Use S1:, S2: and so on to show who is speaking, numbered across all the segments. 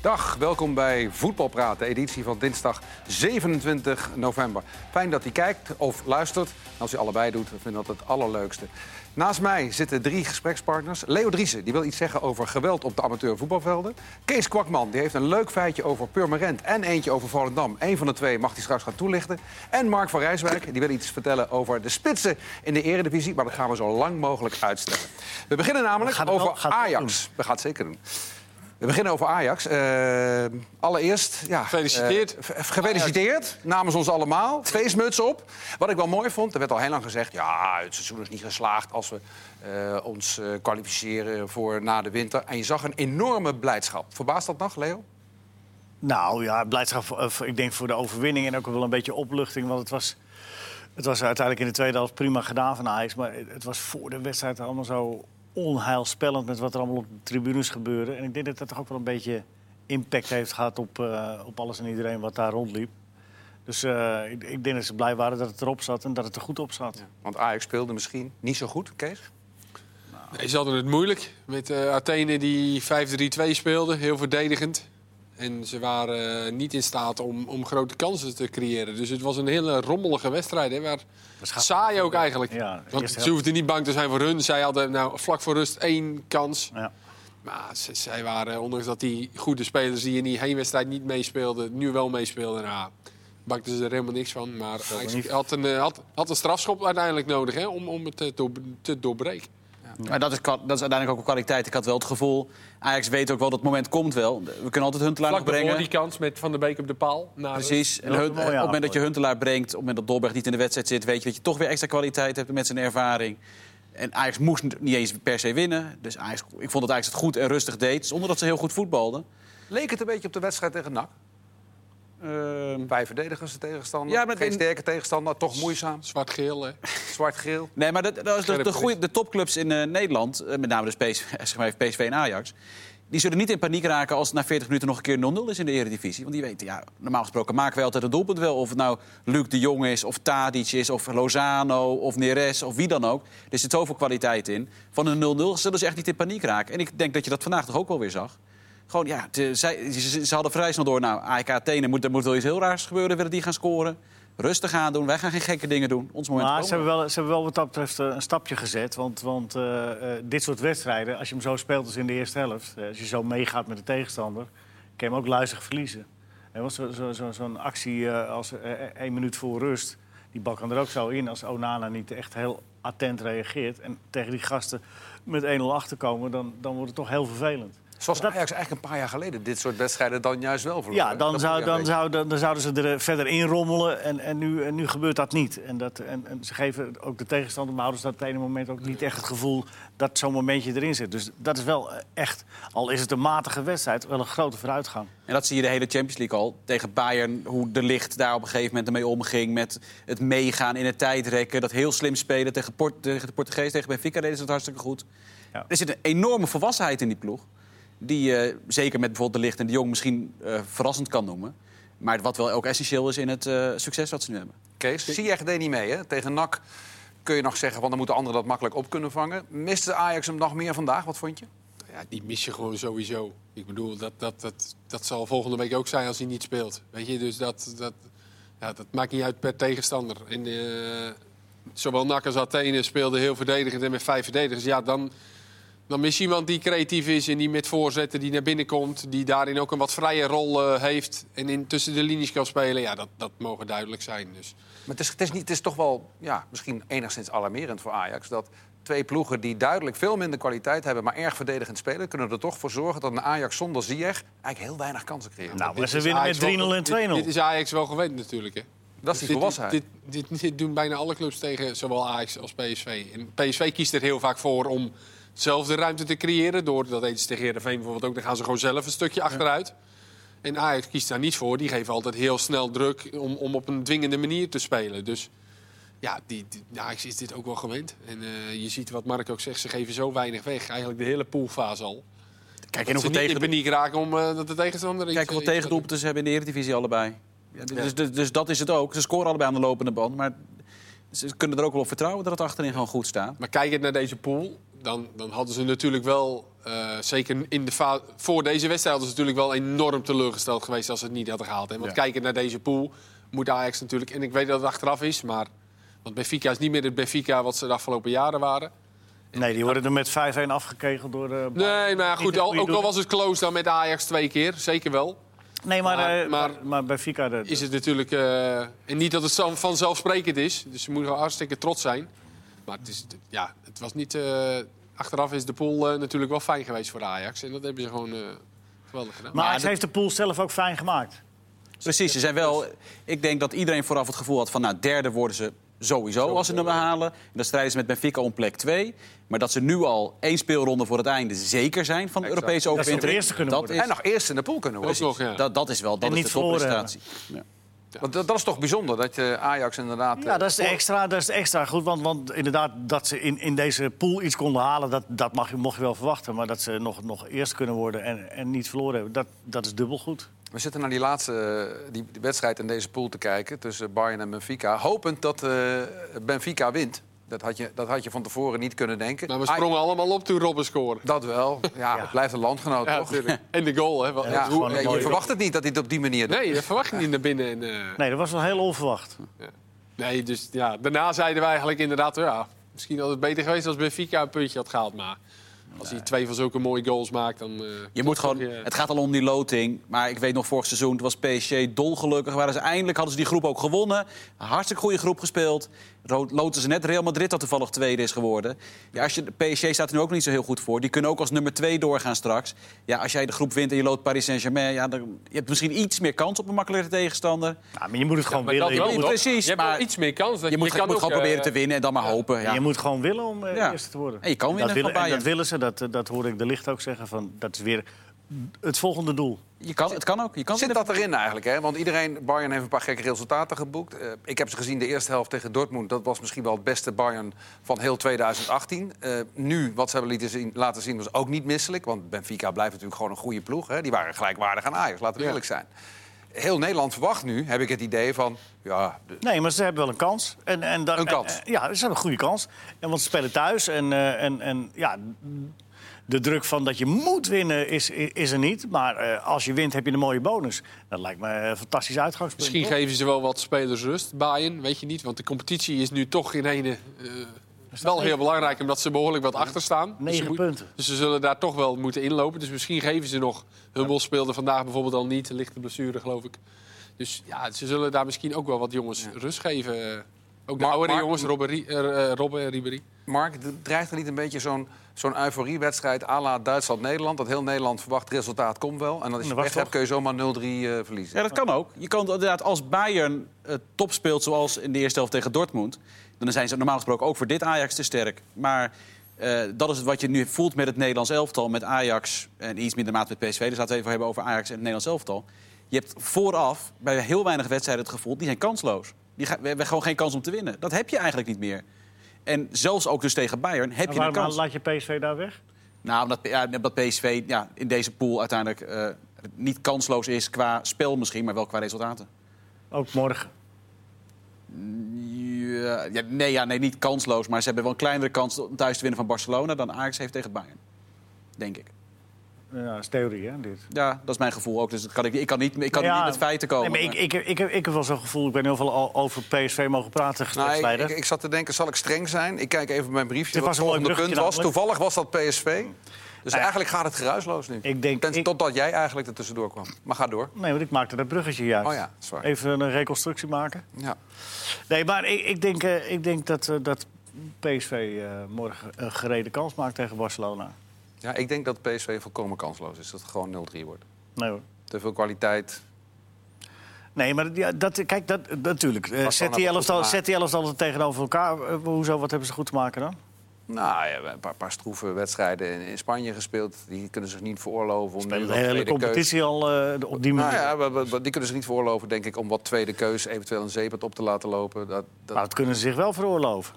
S1: Dag, welkom bij Voetbalpraten, editie van dinsdag 27 november. Fijn dat u kijkt of luistert. Als u allebei doet, dan vinden we dat het allerleukste. Naast mij zitten drie gesprekspartners. Leo Driessen, die wil iets zeggen over geweld op de amateurvoetbalvelden. Kees Kwakman, die heeft een leuk feitje over Purmerend en eentje over Volendam. Eén van de twee mag hij straks gaan toelichten. En Mark van Rijswijk, die wil iets vertellen over de spitsen in de eredivisie. Maar dat gaan we zo lang mogelijk uitstellen. We beginnen namelijk
S2: We gaan het wel-
S1: over
S2: gaan het wel
S1: Ajax. We gaan het zeker doen. We beginnen over Ajax. Eh, allereerst, ja,
S3: Gefeliciteerd.
S1: eh, v- gefeliciteerd namens ons allemaal. Feestmuts op. Wat ik wel mooi vond, er werd al heel lang gezegd... ja, het seizoen is niet geslaagd als we eh, ons eh, kwalificeren voor na de winter. En je zag een enorme blijdschap. Verbaast dat nog, Leo?
S2: Nou ja, blijdschap, eh, voor- ik denk voor de overwinning en ook wel een beetje opluchting. Want het was, het was uiteindelijk in de tweede helft prima gedaan van Ajax. Maar het het was voor de wedstrijd allemaal zo onheilspellend met wat er allemaal op de tribunes gebeurde. En ik denk dat dat toch ook wel een beetje impact heeft gehad op, eh, op alles en iedereen wat daar rondliep. Dus eh, ik, ik denk dat ze blij waren dat het erop zat en dat het er goed op zat.
S1: Want Ajax speelde misschien niet zo goed, Kees.
S3: Nee, ze hadden het moeilijk met eh, Athene die 5-3-2 speelde, heel verdedigend. En ze waren eh, niet in staat om, om grote kansen te creëren. Dus het was een hele rommelige wedstrijd. Hè, waar saai ook eigenlijk.
S2: Ja, de
S3: Want
S2: eerste
S3: ze hoefden niet bang te zijn voor hun. Zij hadden nou, vlak voor rust één kans.
S2: Ja.
S3: Maar ze- zij waren, eh, ondanks dat die goede spelers die in die heenwedstrijd niet meespeelden, nu wel meespeelden. Nou, bakten ze er helemaal niks van. Maar hij
S2: niet.
S3: had een, eh, had, had een strafschop uiteindelijk nodig hè, om, om het te, door- te doorbreken.
S4: Maar dat is, kwa- dat is uiteindelijk ook een kwaliteit. Ik had wel het gevoel, Ajax weet ook wel dat het moment komt wel. We kunnen altijd Huntelaar nog
S3: Vlak daarvoor
S4: brengen.
S3: die kans met Van der Beek op de paal. Nou,
S4: Precies. En
S2: Dat is
S4: Hun-
S2: een
S4: op
S2: mooie
S4: het moment dat je
S2: aanvoer.
S4: Huntelaar brengt, op het moment dat Dolberg niet in de wedstrijd zit, weet je dat je toch weer extra kwaliteit hebt met zijn ervaring. En Ajax moest niet eens per se winnen. Dus Ajax, ik vond dat Ajax het goed en rustig deed, zonder dat ze heel goed voetbalden.
S1: Leek het een beetje op de wedstrijd tegen NAC.
S4: Ehm,
S1: Bij verdedigers de tegenstander.
S4: Ja, maar
S1: Geen
S4: in-
S1: sterke tegenstander, toch moeizaam.
S3: Zwart-geel, hè?
S1: Zwart-geel.
S4: Nee, maar dat, dat is de,
S3: Scherp
S4: de, goeie-
S3: is.
S4: de topclubs in eh, Nederland, eh, met name dus PS, zeg maar even PSV en Ajax... die zullen niet in paniek raken als het na 40 minuten nog een keer 0-0 is in de Eredivisie. Want die weten, ja, normaal gesproken maken wij altijd een doelpunt wel. Of het nou Luc de Jong is, of Tadic is, of Lozano, of Neres, of wie dan ook. Er zit zoveel kwaliteit in. Van een 0-0 zullen ze echt niet in paniek raken. En ik denk dat je dat vandaag toch ook wel weer zag. Gewoon, ja, de- zij, ze- ze, ze hadden vrij snel door. Nou, AEK Athene, moet, er moet wel iets heel raars gebeuren, willen die gaan scoren. Rustig aan doen, wij gaan geen gekke dingen doen. Ons moment
S2: Maar
S4: komt
S2: ze hebben, wel, ze hebben wel wat dat betreft eh, een stapje gezet. Want, want eh, eh, dit soort wedstrijden, als je hem zo speelt als in de eerste helft... eh, als je zo meegaat met de tegenstander, kan je hem ook luizig verliezen. En was zo, zo, zo, zo'n actie eh, als eh, eh, één minuut voor rust... die bal kan er ook zo in als Onana niet echt heel attent reageert... en tegen die gasten met 1-0 achterkomen, dan, dan wordt het toch heel vervelend.
S1: Zoals Ajax eigenlijk een paar jaar geleden dit soort wedstrijden dan juist wel verloor.
S2: Ja,
S1: hè?
S2: dan,
S1: Dat moet
S2: zou,
S1: je
S2: dan,
S1: weten.
S2: zou, dan, dan zouden ze er eh, verder in rommelen. En, en, nu, en nu gebeurt dat niet. En, dat, en, en ze geven ook de tegenstander, maar houden ze dat op het ene moment ook niet echt het gevoel dat zo'n momentje erin zit. Dus dat is wel eh, echt, al is het een matige wedstrijd, wel een grote vooruitgang.
S4: En dat zie je de hele Champions League al. Tegen Bayern, hoe de licht daar op een gegeven moment mee omging. Met het meegaan in het tijdrekken. Dat heel slim spelen tegen, Port- tegen de Portugees. Tegen Benfica deden ze het hartstikke goed.
S2: Ja.
S4: Er zit een enorme volwassenheid in die ploeg. Die eh, zeker met bijvoorbeeld de licht en de jong misschien eh, verrassend kan noemen. Maar wat wel ook essentieel is in het eh, succes wat ze nu hebben.
S1: Kees, Ziyech deed niet mee, hè? Tegen NAC kun je nog zeggen, want dan moeten anderen dat makkelijk op kunnen vangen. Miste Ajax hem nog meer vandaag? Wat vond je?
S3: Ja, die mis je gewoon sowieso. Ik bedoel, dat, dat, dat, dat zal volgende week ook zijn als hij niet speelt. Weet je, dus dat, dat, ja, dat maakt niet uit per tegenstander. En, eh, zowel NAC als Athene speelden heel verdedigend en met vijf verdedigers. Ja, dan, dan mis je iemand die creatief is en die met voorzetten die naar binnen komt. Die daarin ook een wat vrije rol eh, heeft en in, tussen de linies kan spelen. Ja, dat, dat mogen duidelijk zijn. Dus.
S1: Maar het is, het is, niet, het is toch wel ja, misschien enigszins alarmerend voor Ajax... dat twee ploegen die duidelijk veel minder kwaliteit hebben... maar erg verdedigend spelen, kunnen er toch voor zorgen... dat een Ajax zonder Ziyech eigenlijk heel weinig kansen creëert.
S2: Nou, maar
S3: Dit
S2: ze
S3: is
S2: winnen
S3: Ajax
S2: met 3-0
S3: wel-
S2: en 2-0.
S3: Dit, dit is Ajax wel gewend natuurlijk, hè?
S1: dat is die
S3: dit,
S1: volwassenheid.
S3: dit, dit, dit, dit doen bijna alle clubs tegen zowel Ajax als PSV. En PSV kiest er heel vaak voor om zelf de ruimte te creëren. Door dat eens tegen Heerenveen bijvoorbeeld ook. Dan gaan ze gewoon zelf een stukje achteruit. En Ajax kiest daar niet voor. Die geven altijd heel snel druk om, om op een dwingende manier te spelen. Dus ja, die, die- de Ajax is dit ook wel gewend. En eh, je ziet wat Mark ook zegt. Ze geven zo weinig weg. Eigenlijk de hele poolfase al.
S4: Kijk,
S3: En
S4: en
S3: dat ze
S4: hoeveel,
S3: niet in
S4: tegen...
S3: paniek raken om eh, dat de tegenstander iets- eh,
S4: Kijk hoeveel
S3: iets-
S4: tegendoelpunten eh, ze hebben in de Eredivisie allebei. Ja, dus, dus, dus dat is het ook. Ze scoren allebei aan de lopende band. Maar ze kunnen er ook wel op vertrouwen dat het achterin gewoon goed staat.
S3: Maar kijkend naar deze pool, dan, dan hadden ze natuurlijk wel, eh, zeker in de fa- voor deze wedstrijd, hadden ze natuurlijk wel enorm teleurgesteld geweest als ze het niet hadden gehaald. Hè? Want
S4: Ja.
S3: kijken naar deze pool moet Ajax natuurlijk, en ik weet dat het achteraf is, maar want Benfica is niet meer het Benfica wat ze de afgelopen jaren waren.
S2: Nee, die worden er met 5-1 afgekegeld door eh, de...
S3: Nee, maar goed,
S2: Niet een
S3: al-
S2: goede
S3: ook al
S2: doel.
S3: was het close dan met Ajax twee keer, zeker wel.
S2: Nee, maar,
S3: Maar-
S2: eh,
S3: maar-
S2: maar, bij Fika... De,
S3: Is het natuurlijk, eh, en niet dat het zo- vanzelfsprekend is, dus ze moeten wel hartstikke trots zijn. Maar het, is, ja, het was niet, eh, achteraf is de pool eh, natuurlijk wel fijn geweest voor Ajax. En dat hebben ze gewoon eh, geweldig gedaan.
S2: maar
S4: Maar
S2: Ajax
S4: dat-
S2: heeft de pool zelf ook fijn gemaakt.
S4: Precies, ze zijn
S2: Dus-
S4: wel, ik denk dat iedereen vooraf het gevoel had van... nou, derde worden ze sowieso als ze hem halen. En dan strijden ze met Benfica om plek 2. Maar dat ze nu al één speelronde voor het einde zeker zijn van de
S1: Exact.
S4: Europese
S2: ze
S4: overwinter.
S2: de eerste kunnen worden.
S1: En nog eerst in de pool kunnen
S3: Ook
S1: worden.
S3: nog, ja.
S4: dat, dat is wel dat
S2: En
S4: is
S2: niet
S4: de
S2: verloren
S4: topprestatie. Ja.
S1: Want dat, dat is toch bijzonder dat je Ajax inderdaad.
S2: Ja, dat is extra, dat is extra goed. Want, want inderdaad, dat ze in, in deze pool iets konden halen, dat, dat mag, je- mocht je wel verwachten. Maar dat ze nog, nog eerst kunnen worden en, en niet verloren hebben, dat, dat is dubbel goed.
S1: We zitten naar die laatste eh, die, die wedstrijd in deze pool te kijken tussen Bayern en Benfica. Hopend dat eh, Benfica wint. Dat had, je, dat had je van tevoren niet kunnen denken.
S3: Maar we sprongen allemaal op toen Robben scoorde.
S1: Ah, dat wel. Ja, het blijft een landgenoot,
S3: Ja,
S1: toch?
S3: natuurlijk. en de goal, hè? Wat-
S1: Ja,
S3: hoe-
S2: gewoon een
S1: ja, je
S2: mooie-
S1: verwacht het niet dat hij het op die manier doet.
S3: nee, dat verwacht je niet naar binnen. En, eh,
S2: Nee, dat was wel heel onverwacht.
S3: nee, dus ja, daarna zeiden wij eigenlijk inderdaad, ja, misschien had het beter geweest als Benfica een puntje had gehaald. Maar als hij twee van zulke mooie goals maakt, dan. eh,
S4: Je moet gewoon,
S3: toch, eh,
S4: het gaat al om die loting. Maar ik weet nog, vorig seizoen toen was PSG dolgelukkig. Waren ze eindelijk hadden ze die groep ook gewonnen. Een hartstikke goede groep gespeeld. Ro- Loten ze net Real Madrid dat toevallig tweede is geworden. Ja, als je, PSG staat er nu ook niet zo heel goed voor. Die kunnen ook als nummer twee doorgaan straks. Ja, als jij de groep wint en je loopt Paris Saint-Germain... Ja, dan, je hebt misschien iets meer kans op een makkelijkere tegenstander.
S2: Ja, Nou, maar je moet het gewoon
S3: maar
S2: willen.
S3: dat
S2: Je
S3: wel,
S2: moet,
S3: toch?
S4: precies,
S3: Je hebt wel
S4: maar
S3: iets meer kans. Dat
S4: Je moet, je
S3: kan
S4: moet
S3: ook,
S4: gewoon proberen
S3: eh,
S4: te winnen en dan maar hopen. Ja.
S2: je moet gewoon willen om eh,
S4: Ja.
S2: eerste te worden.
S4: En je kan
S2: dat
S4: winnen van
S2: willen, en
S4: Bayern.
S2: dat willen ze, dat, dat hoorde ik de licht ook zeggen. Van, dat is weer het volgende doel.
S4: Je kan, het kan ook. Je kan
S1: Zit dat erin eigenlijk? Hè? Want iedereen, Bayern heeft een paar gekke resultaten geboekt. Eh, ik heb ze gezien de eerste helft tegen Dortmund. Dat was misschien wel het beste Bayern van heel 2018. Eh, nu, wat ze hebben laten zien, laten zien, was ook niet misselijk. Want Benfica blijft natuurlijk gewoon een goede ploeg. Hè? Die waren gelijkwaardig aan Ajax, laten we
S3: Ja.
S1: eerlijk zijn. Heel Nederland verwacht nu, heb ik het idee van... Ja, de-
S2: Nee, maar ze hebben wel een kans. En, en dat,
S1: Een kans.
S2: en- ja, ze hebben een goede kans. En want ze spelen thuis. En, eh, en, en ja, de druk van dat je moet winnen is, is er niet. Maar eh, als je wint heb je een mooie bonus. Dat lijkt me een fantastisch uitgangspunt.
S3: Misschien
S2: toch?
S3: geven ze wel wat spelers rust, Bayern, weet je niet. Want de competitie is nu toch in ene eh, wel heel
S2: negen-
S3: belangrijk... omdat ze behoorlijk wat achter staan. Dus
S2: Negen
S3: ze moet-
S2: punten.
S3: Dus ze zullen daar toch wel moeten inlopen. Dus misschien geven ze nog. Hummel speelde vandaag bijvoorbeeld al niet. Een lichte blessure, geloof ik. Dus ja, ze zullen daar misschien ook wel wat jongens rust geven. Eh, Ook de
S1: Maar-
S3: oudere
S1: maar-
S3: jongens, Robben Ri- eh, eh, Robben en Ribéry.
S1: Mark, d- dreigt er niet een beetje zo'n zo'n euforiewedstrijd à la Duitsland-Nederland? Dat heel Nederland verwacht, resultaat komt wel. En dan als je
S2: Dat was
S1: pech hebt,
S2: toch-
S1: kun je zomaar 0-3 eh, verliezen.
S4: Ja, dat kan ook. Je kan inderdaad, als Bayern eh, top speelt zoals in de eerste helft tegen Dortmund... dan zijn ze normaal gesproken ook voor dit Ajax te sterk. Maar eh, dat is wat je nu voelt met het Nederlands elftal, met Ajax... en iets minder maat met PSV, dus laten we het even hebben over Ajax en het Nederlands elftal. Je hebt vooraf bij heel weinig wedstrijden het gevoel, die zijn kansloos. Die ga- we hebben gewoon geen kans om te winnen. Dat heb je eigenlijk niet meer. En zelfs ook dus tegen Bayern heb
S2: Maar
S4: je een
S2: Nou, waarom
S4: kans.
S2: laat je PSV daar weg?
S4: Nou, omdat, ja, omdat PSV ja, in deze pool uiteindelijk eh, niet kansloos is qua spel misschien, maar wel qua resultaten.
S2: Ook morgen.
S4: Ja, ja, nee, ja, nee, niet kansloos. Maar ze hebben wel een kleinere kans om thuis te winnen van Barcelona dan Ajax heeft tegen Bayern. Denk ik.
S2: Ja, dat is theorie, hè, dit.
S4: Ja, dat is mijn gevoel ook. Dus dat kan ik, ik kan niet, ik kan
S2: Ja,
S4: niet met feiten komen.
S2: Nee, maar ik, ik, heb- ik, heb, ik heb wel zo'n gevoel, ik ben heel veel al over PSV mogen praten,
S1: Nou, ik,
S2: gespreksleider.
S1: ik, ik zat te denken, zal ik streng zijn? Ik kijk even op mijn briefje
S2: Dit
S1: wat
S2: was
S1: het
S2: een mooi
S1: volgende punt was.
S2: bruggetje Hmm. Nou
S1: Toevallig was dat PSV. Dus
S2: ja.
S1: eigenlijk gaat het geruisloos nu.
S2: Ik denk-
S1: Ten-
S2: ik-
S1: Totdat jij eigenlijk er tussendoor kwam. Maar ga door.
S2: Nee, want ik maakte dat bruggetje juist.
S1: Oh ja, sorry.
S2: Even een reconstructie maken.
S1: Ja.
S2: Nee, maar ik, ik, denk, eh, ik denk dat, eh, dat PSV eh, morgen een gereden kans maakt tegen Barcelona.
S1: ja, ik denk dat PSV volkomen kansloos is. Dat het gewoon 0-3 wordt.
S2: Nee hoor.
S1: Te veel kwaliteit.
S2: Nee, maar ja, dat, kijk, dat, eh, natuurlijk. Eh, zet, die
S1: had het goed
S2: elftal,
S1: gemaakt.
S2: zet die elftal tegenover elkaar. Eh, hoezo, wat hebben ze goed te maken dan?
S1: Nou, ja, een paar, paar stroeve wedstrijden in, in Spanje gespeeld. Die kunnen zich niet veroorloven om nu
S2: De
S1: wat
S2: hele
S1: tweede keus-
S2: competitie al eh, op die
S1: Nou
S2: manier.
S1: ja, we- we- we- die kunnen zich niet veroorloven, denk ik, om wat tweede keus eventueel een zeepert op te laten lopen. Dat, dat,
S2: Maar dat kunnen ze zich wel veroorloven.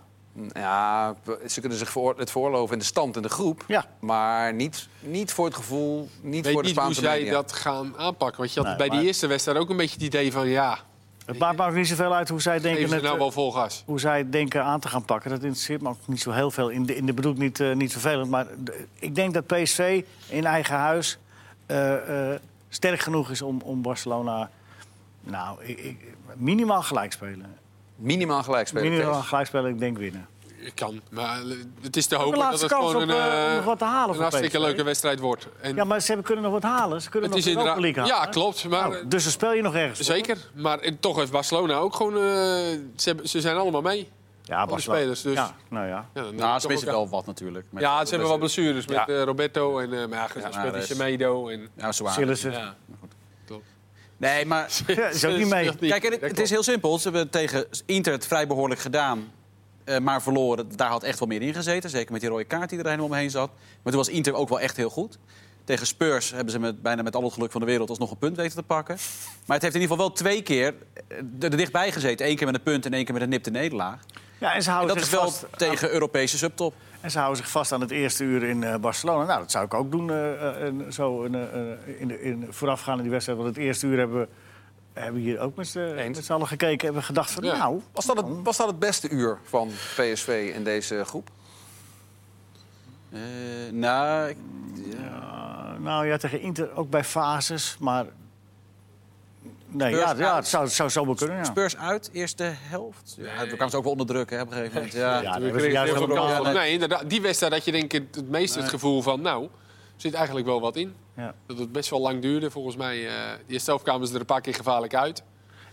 S1: Ja, ze kunnen zich veroor- het veroorloven in de stand in de groep.
S2: Ja.
S1: Maar niet, niet voor het gevoel, niet
S3: Ik weet
S1: voor de
S3: niet hoe
S1: Spaanse
S3: zij
S1: media.
S3: dat gaan aanpakken. Want je had
S2: Nee,
S3: bij
S2: maar-
S3: die eerste wedstrijd ook een beetje het idee van... ja,
S2: Het maakt me ook niet zoveel uit hoe zij denken,
S3: Even ze
S2: het,
S3: nou
S2: eh,
S3: wel vol gas.
S2: hoe zij denken aan te gaan pakken. Dat interesseert me ook niet zo heel veel. In de, in de bedoel ik niet, eh, niet vervelend. Maar de- ik denk dat PSV in eigen huis eh, eh, sterk genoeg is om, om Barcelona nou, ik, ik- minimaal gelijk spelen.
S1: Minimaal gelijk spelen.
S2: Minimaal
S1: Kees.
S2: gelijk spelen, ik denk winnen.
S3: Ik kan, maar eh, het is te hopen dat
S2: laatste
S3: het
S2: kans
S3: gewoon een,
S2: op, eh, om nog
S3: eh,
S2: wat te halen
S3: een
S2: voor
S3: hartstikke
S2: PSV.
S3: leuke wedstrijd wordt. En
S2: Ja, maar ze hebben- kunnen nog wat halen. Ze kunnen
S3: het
S2: nog
S3: is
S2: de Europa
S3: inderdaad-
S2: League halen.
S3: Ja, klopt. Maar eh,
S2: Nou, dus dan speel je nog ergens. voor.
S3: Zeker, maar in- toch heeft Barcelona ook gewoon... eh, ze, hebben- ze zijn allemaal mee.
S2: Ja,
S3: de
S2: Barcelona.
S3: spelers, dus-
S2: Ja, nou ja.
S3: Ja, dan
S4: Nou,
S3: toch
S4: ze missen
S3: ook-
S4: wel wat natuurlijk. Met-
S3: Ja, ze hebben wel blessures met
S4: Ja.
S3: eh, Roberto en eh maar ja,
S4: Ja, nou,
S3: speelt die
S4: Mahrez.
S3: Semedo. En,
S4: Ja, zwaar.
S2: Sillissen.
S3: ja.
S4: Nee, maar
S2: Ja, is ook niet mee.
S3: Speelt niet.
S4: Kijk, en het,
S3: Dat
S4: het is heel simpel. Ze hebben tegen Inter het vrij behoorlijk gedaan. eh, maar verloren. Daar had echt wel meer in gezeten. Zeker met die rode kaart die er helemaal omheen zat. Maar toen was Inter ook wel echt heel goed. Tegen Spurs hebben ze met, bijna met al het geluk van de wereld alsnog een punt weten te pakken. Maar het heeft in ieder geval wel twee keer eh, er dichtbij gezeten. Eén keer met een punt en één keer met een nipte
S2: Oh,
S4: nederlaag.
S2: Ja, en ze
S4: En
S2: houden
S4: dat is
S2: zich
S4: wel
S2: vast.
S4: tegen Europese subtop.
S2: En ze houden zich vast aan het eerste uur in eh, Barcelona. Nou, dat zou ik ook doen eh, eh, en zo in, eh, in, de- in, voorafgaande die wedstrijd. Want het eerste uur hebben we hebben we hier ook met z'n
S1: Eens.
S2: met z'n allen gekeken. Hebben we gedacht van,
S3: Ja.
S2: nou...
S1: Was dat, het, was dat het beste uur van PSV in deze groep?
S4: Eh, nou, ik-
S2: eh, nou ja, tegen Inter ook bij fases, maar... Nee,
S4: Spurs
S2: ja, ja,
S4: uit.
S2: het zou, het zou zo wel kunnen, ja.
S4: Spurs uit, eerste helft. Ja, we kwamen ze ook wel onder druk hè, op een gegeven moment. Ja.
S2: Ja,
S3: We
S2: dat was
S3: kregen
S2: juist
S3: heel veel
S2: helemaal-
S3: kansen.
S4: ja, nee.
S3: Nee, inderdaad. Die wedstrijd had je denk ik het- het meest het gevoel van... nou, er zit eigenlijk wel wat in.
S2: Ja.
S3: Dat het best wel lang duurde. Volgens mij, eh die eerste helft kwamen ze er een paar keer gevaarlijk uit.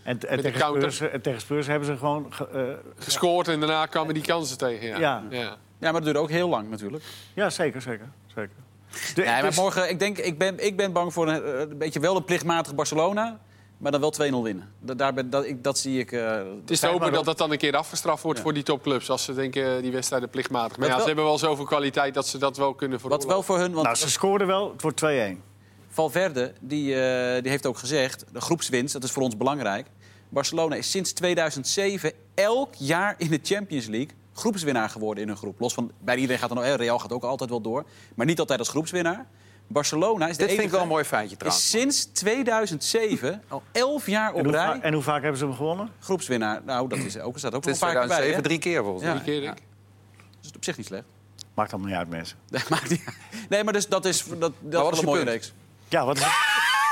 S2: En, en,
S3: de
S2: tegen
S3: counter.
S2: Spurs, en tegen Spurs hebben ze gewoon... ge- eh,
S3: Gescoord en daarna kwamen die kansen tegen. Ja.
S2: Ja.
S4: ja, maar dat duurde ook heel lang natuurlijk.
S2: ja, zeker, zeker, zeker. De-
S4: Nee, maar
S2: dus-
S4: morgen, ik, denk, ik, ben, ik ben bang voor een, eh, een beetje wel een plichtmatig Barcelona, maar dan wel 2-0 winnen. Dat, daar ben, dat, ik, dat zie ik. eh,
S3: Het is te
S2: Kijk maar
S3: hopen
S2: op.
S3: dat dat dan een keer afgestraft wordt voor die topclubs. Als ze denken eh, die wedstrijden plichtmatig. Maar
S4: Wat
S3: ja, ze
S4: wel-
S3: hebben wel zoveel kwaliteit dat ze dat wel kunnen
S4: wat
S3: veroorloven.
S4: wel voor hun, want
S2: Nou, ze scoorden wel. Het wordt 2-1.
S4: Valverde die, eh, die heeft ook gezegd: de groepswinst, dat is voor ons belangrijk. Barcelona is sinds 2007 elk jaar in de Champions League groepswinnaar geworden in hun groep. Los van bij iedereen gaat dan eh, Real gaat ook altijd wel door, maar niet altijd als groepswinnaar. Barcelona is de
S1: Dit vind ik
S4: enige-
S1: wel een mooi feitje trouwens.
S4: Is sinds 2007 al 11 jaar op
S2: En hoe,
S4: rij
S1: eh,
S2: vaak, en hoe vaak hebben ze hem gewonnen?
S4: groepswinnaar. Nou, dat is ook, staat ook nog
S1: Sinds
S4: een paar keer bij.
S1: 2007
S4: hè?
S1: drie keer volgens mij.
S3: Die keer, denk ik.
S4: Dat is op zich niet slecht.
S2: Maakt allemaal niet uit, mensen.
S4: Nee, maakt niet uit. Nee, maar dus, dat is, dat, dat is wel
S1: is
S4: een
S1: je
S4: mooie
S1: punt?
S4: reeks.
S2: Ja, wat is het?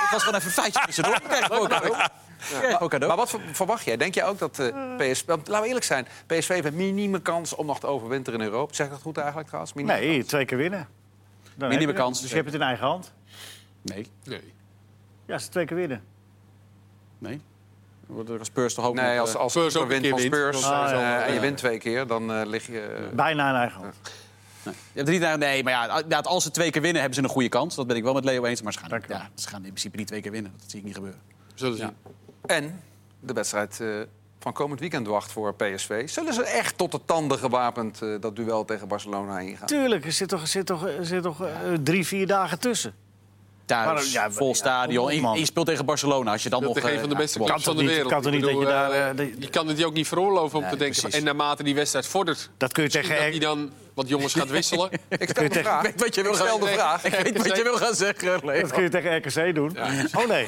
S4: Het was gewoon even een feitje tussendoor. Ik Krijg ook cadeau. Ik Krijg ook cadeau.
S1: Maar wat ver- verwacht jij? Denk jij ook dat eh PSV... want Laten we eerlijk zijn, PSV heeft een minieme kans om nog te overwinteren in Europa. Zeg ik dat goed eigenlijk trouwens? Minieme
S2: Nee,
S1: kans.
S2: twee keer winnen. Dan
S4: Minimum
S2: heb je het.
S4: kans,
S2: Dus je
S4: zeker.
S2: hebt het in eigen hand.
S4: Nee,
S3: Nee.
S2: Ja, ze twee keer winnen.
S4: nee. Dan wordt er als Spurs toch ook nog,
S1: Nee, als,
S4: eh,
S1: als
S3: Spurs
S1: Spurs
S3: ook een
S1: wint
S3: keer
S1: van
S3: wint,
S1: Spurs
S3: dan zijn ze
S1: eh,
S3: al,
S1: en je
S3: ja.
S1: wint twee keer, dan eh, lig je... eh,
S2: Bijna in eigen hand.
S4: je hebt drie dagen, nee, maar ja, inderdaad, als ze twee keer winnen, hebben ze een goede kans. Dat ben ik wel met Leo eens. Maar ze gaan,
S2: Dank je wel.
S4: ja, ze gaan in principe niet twee keer winnen. Dat zie ik niet gebeuren.
S3: We Zullen zien.
S1: En de wedstrijd eh, van komend weekend wacht voor PSV. Zullen ze echt tot de tanden gewapend eh, dat duel tegen Barcelona ingaan?
S2: Tuurlijk, er zit toch, er zit toch, er zit toch eh, drie, vier dagen tussen. Maar,
S4: Thuis,
S2: ja,
S4: vol
S2: ja,
S4: stadion.
S2: kom op,
S4: Je-
S2: man.
S4: je speelt tegen Barcelona. Als je dan
S3: Dat
S4: nog...
S3: is een
S4: eh,
S3: van de
S4: ja,
S3: beste
S4: kom op.
S3: clubs van de
S2: niet-
S3: wereld.
S2: kan toch
S3: Ik
S2: niet dat je
S3: bedoel,
S2: daar,
S3: eh,
S2: eh, dat-
S3: je kan het je ook niet veroorloven om
S4: Nee,
S3: te denken...
S4: precies.
S3: en naarmate die wedstrijd vordert...
S2: Dat kun je tegen...
S3: dat hij dan wat jongens gaat wisselen.
S1: Ik stel de
S4: Ik
S1: vraag.
S4: weet wat je wil
S1: Ik
S4: gaan
S1: stel de vraag.
S4: Ik weet wat je wil gaan zeggen, Leo.
S2: dat kun je tegen RKC doen. Oh nee.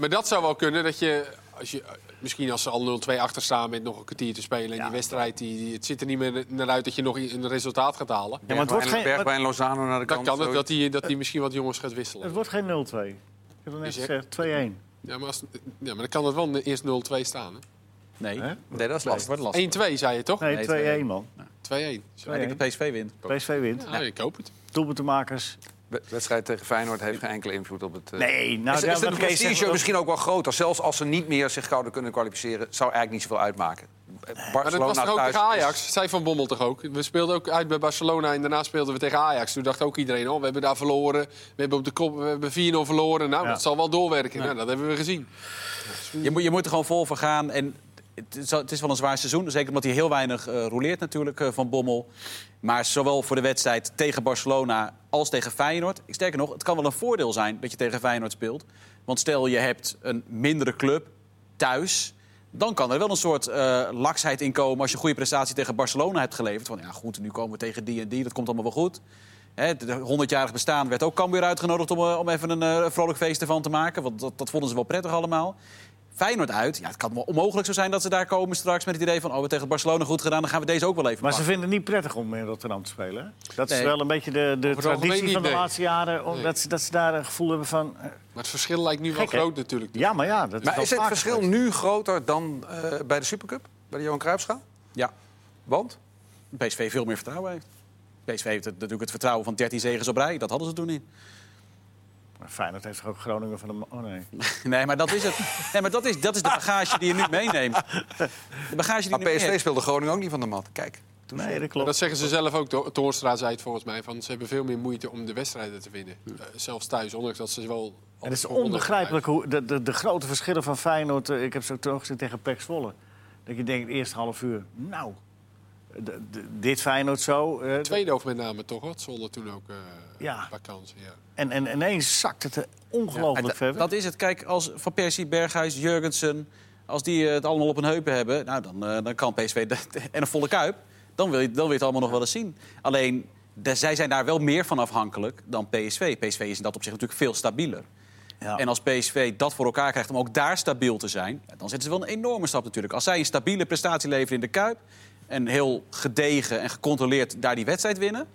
S3: maar dat zou wel kunnen dat je, als je... eh, Misschien als ze al 0-2 achter staan met nog een kwartier te spelen... en die wedstrijd, die, die- het zit er niet meer naar uit dat je nog een resultaat gaat halen.
S2: Ja, maar het wordt
S1: Bergwijn-
S2: geen, het,
S1: Bergwijn, Lozano naar de
S3: Dan
S1: kant.
S3: kan het
S1: zoiets.
S3: dat hij dat
S2: Eh.
S3: die misschien wat jongens gaat wisselen.
S2: wordt geen 0-2. Ik heb het net
S3: Is er-
S2: gezegd, 2-1.
S3: Ja, maar, als, ja, maar dan kan het wel eerst 0-2 staan. hè?
S4: Nee,
S2: Hè?
S4: dat
S1: Nee, dat is lastig.
S4: wordt lastig.
S3: 1-2 zei je toch? 2-1.
S2: Nee,
S4: Nee,
S2: 2-1 man.
S4: Ja, Ik denk dat PSV wint.
S2: PSV wint.
S3: Nou, ik hoop het.
S2: Doelpuntenmakers.
S1: De wedstrijd tegen Feyenoord heeft geen enkele invloed op het... eh,
S2: Nee, nou
S1: is,
S2: ja,
S1: is
S2: wat
S1: het
S2: Kees
S1: prestige
S2: zegt,
S1: misschien ook wel groter? Zelfs als ze niet meer zich gouden kunnen kwalificeren, zou eigenlijk niet zoveel uitmaken. Eh, Barcelona
S3: Maar dat was toch ook
S1: thuis
S3: tegen
S1: is-
S3: Ajax? Zij van Bommel toch ook? We speelden ook uit bij Barcelona en daarna speelden we tegen Ajax. Toen dacht ook iedereen, oh, we hebben daar verloren. We hebben op de kop, we hebben 4-0 verloren. Nou,
S2: Ja.
S3: dat zal wel doorwerken. Nou, dat hebben we gezien.
S4: Je moet, je moet er gewoon vol voor gaan. En het, is, wel- het is wel een zwaar seizoen. Zeker omdat hij heel weinig eh, roleert natuurlijk eh, van Bommel. Maar zowel voor de wedstrijd tegen Barcelona als tegen Feyenoord. Ik Sterker nog, het kan wel een voordeel zijn dat je tegen Feyenoord speelt. Want stel je hebt een mindere club thuis... Dan kan er wel een soort eh laksheid in komen als je een goede prestatie tegen Barcelona hebt geleverd. Van ja, goed, nu komen we tegen die en die, dat komt allemaal wel goed. Hè, Het 100-jarig bestaan werd ook Cambuur uitgenodigd om, eh, om even een eh, vrolijk feest ervan te maken. Want dat, dat vonden ze wel prettig allemaal. Feyenoord uit. Ja, het kan wel onmogelijk zo zijn dat ze daar komen straks met het idee van... oh, we hebben tegen Barcelona goed gedaan, dan gaan we deze ook wel even
S2: Maar ze
S4: pakken.
S2: vinden het niet prettig om in Rotterdam te spelen. hè? Dat is
S4: Nee.
S2: wel een beetje de, de
S3: algemeen
S2: traditie
S3: niet,
S2: van de
S3: nee.
S2: laatste jaren. om-
S3: Nee.
S2: Dat, ze, dat ze daar een gevoel hebben van... eh,
S3: Maar het verschil lijkt nu wel
S2: Gek, hè?
S3: groot natuurlijk.
S2: Ja, maar ja, dat
S1: Maar
S2: wel
S1: is het
S2: vaker
S1: verschil
S2: geweest.
S1: nu groter dan eh, bij de Supercup? Bij de Johan Cruijffschaal?
S4: Ja,
S1: Want?
S4: PSV veel meer vertrouwen heeft. PSV heeft het- natuurlijk het vertrouwen van 13 zegens op rij. Dat hadden ze toen niet.
S2: Maar Feyenoord heeft toch ook Groningen van de... ma- Oh nee.
S4: Nee, maar dat is het. Nee, maar dat is, dat is de bagage die je nu meeneemt. De bagage die
S1: Maar
S4: je nu
S1: PSV
S4: meeneemt.
S1: speelde Groningen ook niet van de mat. Kijk.
S2: Nee, dat
S3: Maar
S2: klopt.
S3: dat zeggen ze zelf ook. To- Toorstra zei het volgens mij. Van, ze hebben veel meer moeite om de wedstrijden te winnen. Eh, zelfs thuis, ondanks dat ze wel...
S2: En het is
S3: altijd
S2: onbegrijpelijk hoe de, de, de grote verschillen van Feyenoord... eh, Ik heb ze ook teruggezien tegen Pek Zwolle. Dat je denkt, eerst half uur, nou... d- d- dit Feyenoord zo. eh,
S3: Tweede hoofd met name toch, hoor. Zonder toen ook eh
S2: Ja.
S3: een paar kansen. Ja.
S2: en, en ineens zakt het er
S4: Ja,
S2: ongelooflijk
S4: dat-
S2: ver weg.
S4: Dat is het. Kijk, als Van Persie, Berghuis, Jurgensen... als die eh, het allemaal op hun heupen hebben... Nou, dan, eh, dan kan PSV dat- en een volle kuip. Dan wil, je, dan wil je het allemaal nog wel eens zien. Alleen, de- zij zijn daar wel meer van afhankelijk dan PSV. PSV is in dat opzicht natuurlijk veel stabieler.
S2: Ja.
S4: En als PSV dat voor elkaar krijgt om ook daar stabiel te zijn... ja, dan zetten ze wel een enorme stap natuurlijk. Als zij een stabiele prestatie leveren in de Kuip... en heel gedegen en gecontroleerd daar die wedstrijd winnen...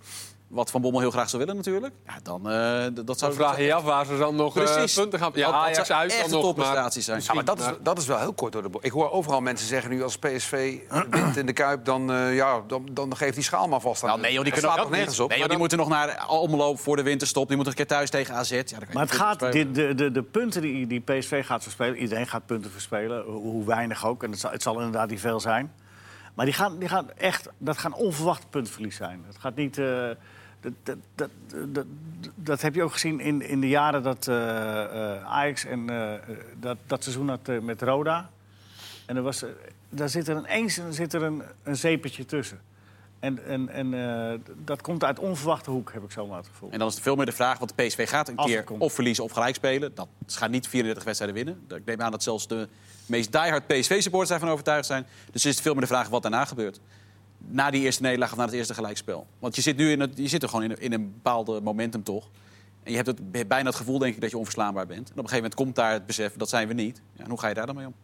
S4: wat Van Bommel heel graag zou willen natuurlijk... Ja, dan eh, d- dat
S3: Dan
S4: zou...
S3: vraag je je af waar ze dan nog eh,
S4: Precies.
S3: punten gaan... Oh, Ja,
S4: Dat- dat
S3: Ajax
S4: zou
S3: uit
S4: echt
S3: dan
S4: een
S3: nog, maar...
S4: topprestatie zijn.
S1: Ja, maar dat is,
S3: maar-
S1: dat is wel heel kort door de bocht. Ik hoor overal mensen zeggen nu als PSV wint in de Kuip... dan, eh, ja, dan, dan geeft die schaal maar vast aan.
S4: Nou, nee, joh, die
S1: Dat
S4: kunnen
S1: slaat
S4: ook
S1: toch nergens op?
S4: Nee, joh, die moeten nog naar Almelo voor de winterstop. Die moeten een keer thuis tegen AZ. Ja, dan kan je
S2: Maar het
S4: natuurlijk
S2: gaat,
S4: spelen.
S2: de, de, de, de punten die, die PSV gaat verspelen, iedereen gaat punten verspelen, hoe, hoe weinig ook. En het zal, het zal inderdaad niet veel zijn. Maar die gaan, die gaan echt, dat gaan onverwacht puntverlies zijn. Het gaat niet. eh, dat, dat, dat, dat, dat heb je ook gezien in, in de jaren dat eh, eh, Ajax en eh, dat, dat seizoen had eh, met Roda. En er was, eh, daar zit er ineens een- zit er een, een zeepetje tussen. En, en, en eh, dat komt uit onverwachte hoek, heb ik zomaar het gevoel.
S4: En dan is het veel meer de vraag, want de PSV gaat een
S2: Als het
S4: keer
S2: komt.
S4: of verliezen of gelijk spelen. Dat, ze gaan niet 34 wedstrijden winnen. Ik neem aan dat zelfs de meest diehard PSV-supporters daarvan overtuigd zijn. Dus is het veel meer de vraag wat daarna gebeurt. Na die eerste nederlaag of na het eerste gelijkspel. Want je zit, nu in het, je zit er gewoon in een, in een bepaalde momentum toch. En je hebt het, je hebt bijna het gevoel, denk ik, dat je onverslaanbaar bent. En op een gegeven moment komt daar het besef, dat zijn we niet. Ja, en hoe ga je daar dan mee om?